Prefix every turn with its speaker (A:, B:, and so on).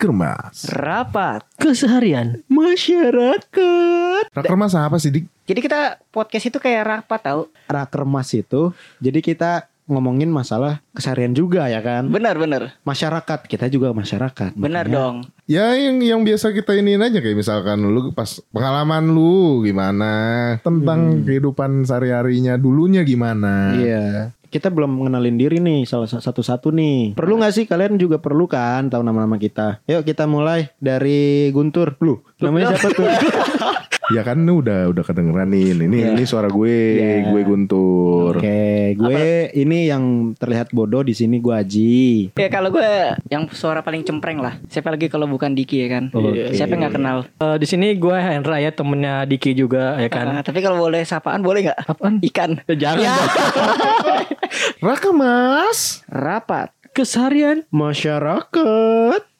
A: Rakermas.
B: Rapat.
C: Keseharian.
B: Masyarakat.
A: Rakermas apa sih, Dik?
B: Jadi kita podcast itu kayak rapat tau.
D: Rakermas itu jadi kita ngomongin masalah keseharian juga ya kan
B: Benar benar.
D: masyarakat kita juga masyarakat
B: Benar
D: Makanya
B: dong.
A: Ya yang yang biasa kita iniin aja kayak misalkan lu pas pengalaman lu gimana tentang kehidupan sehari-harinya dulunya gimana.
D: Hmm. iya kita belum mengenalin diri nih salah sa- satu-satu nih perlu nggak sih kalian juga perlu kan tahu nama-nama kita yuk kita mulai dari Guntur lu namanya siapa tuh
A: Ya kan ini udah udah kedengeran nih. Ini
D: Iya.
A: ini suara gue,
D: Iya.
A: gue Guntur.
D: Oke, gue ini yang terlihat bodoh di sini gue Aji.
B: Ya kalau gue yang suara paling cempreng lah. Siapa lagi kalau bukan Diki ya kan?
D: Oke.
B: Siapa yang nggak kenal?
C: Eh, di sini gue Hendra ya temennya Diki juga ya
B: Ah,
C: kan.
B: tapi kalau boleh sapaan boleh nggak?
C: Apaan?
B: Ikan.
C: Ya, Jangan.
B: Ya.
C: dong.
A: Rakermas.
B: Rapat.
C: Keseharian.
D: Masyarakat.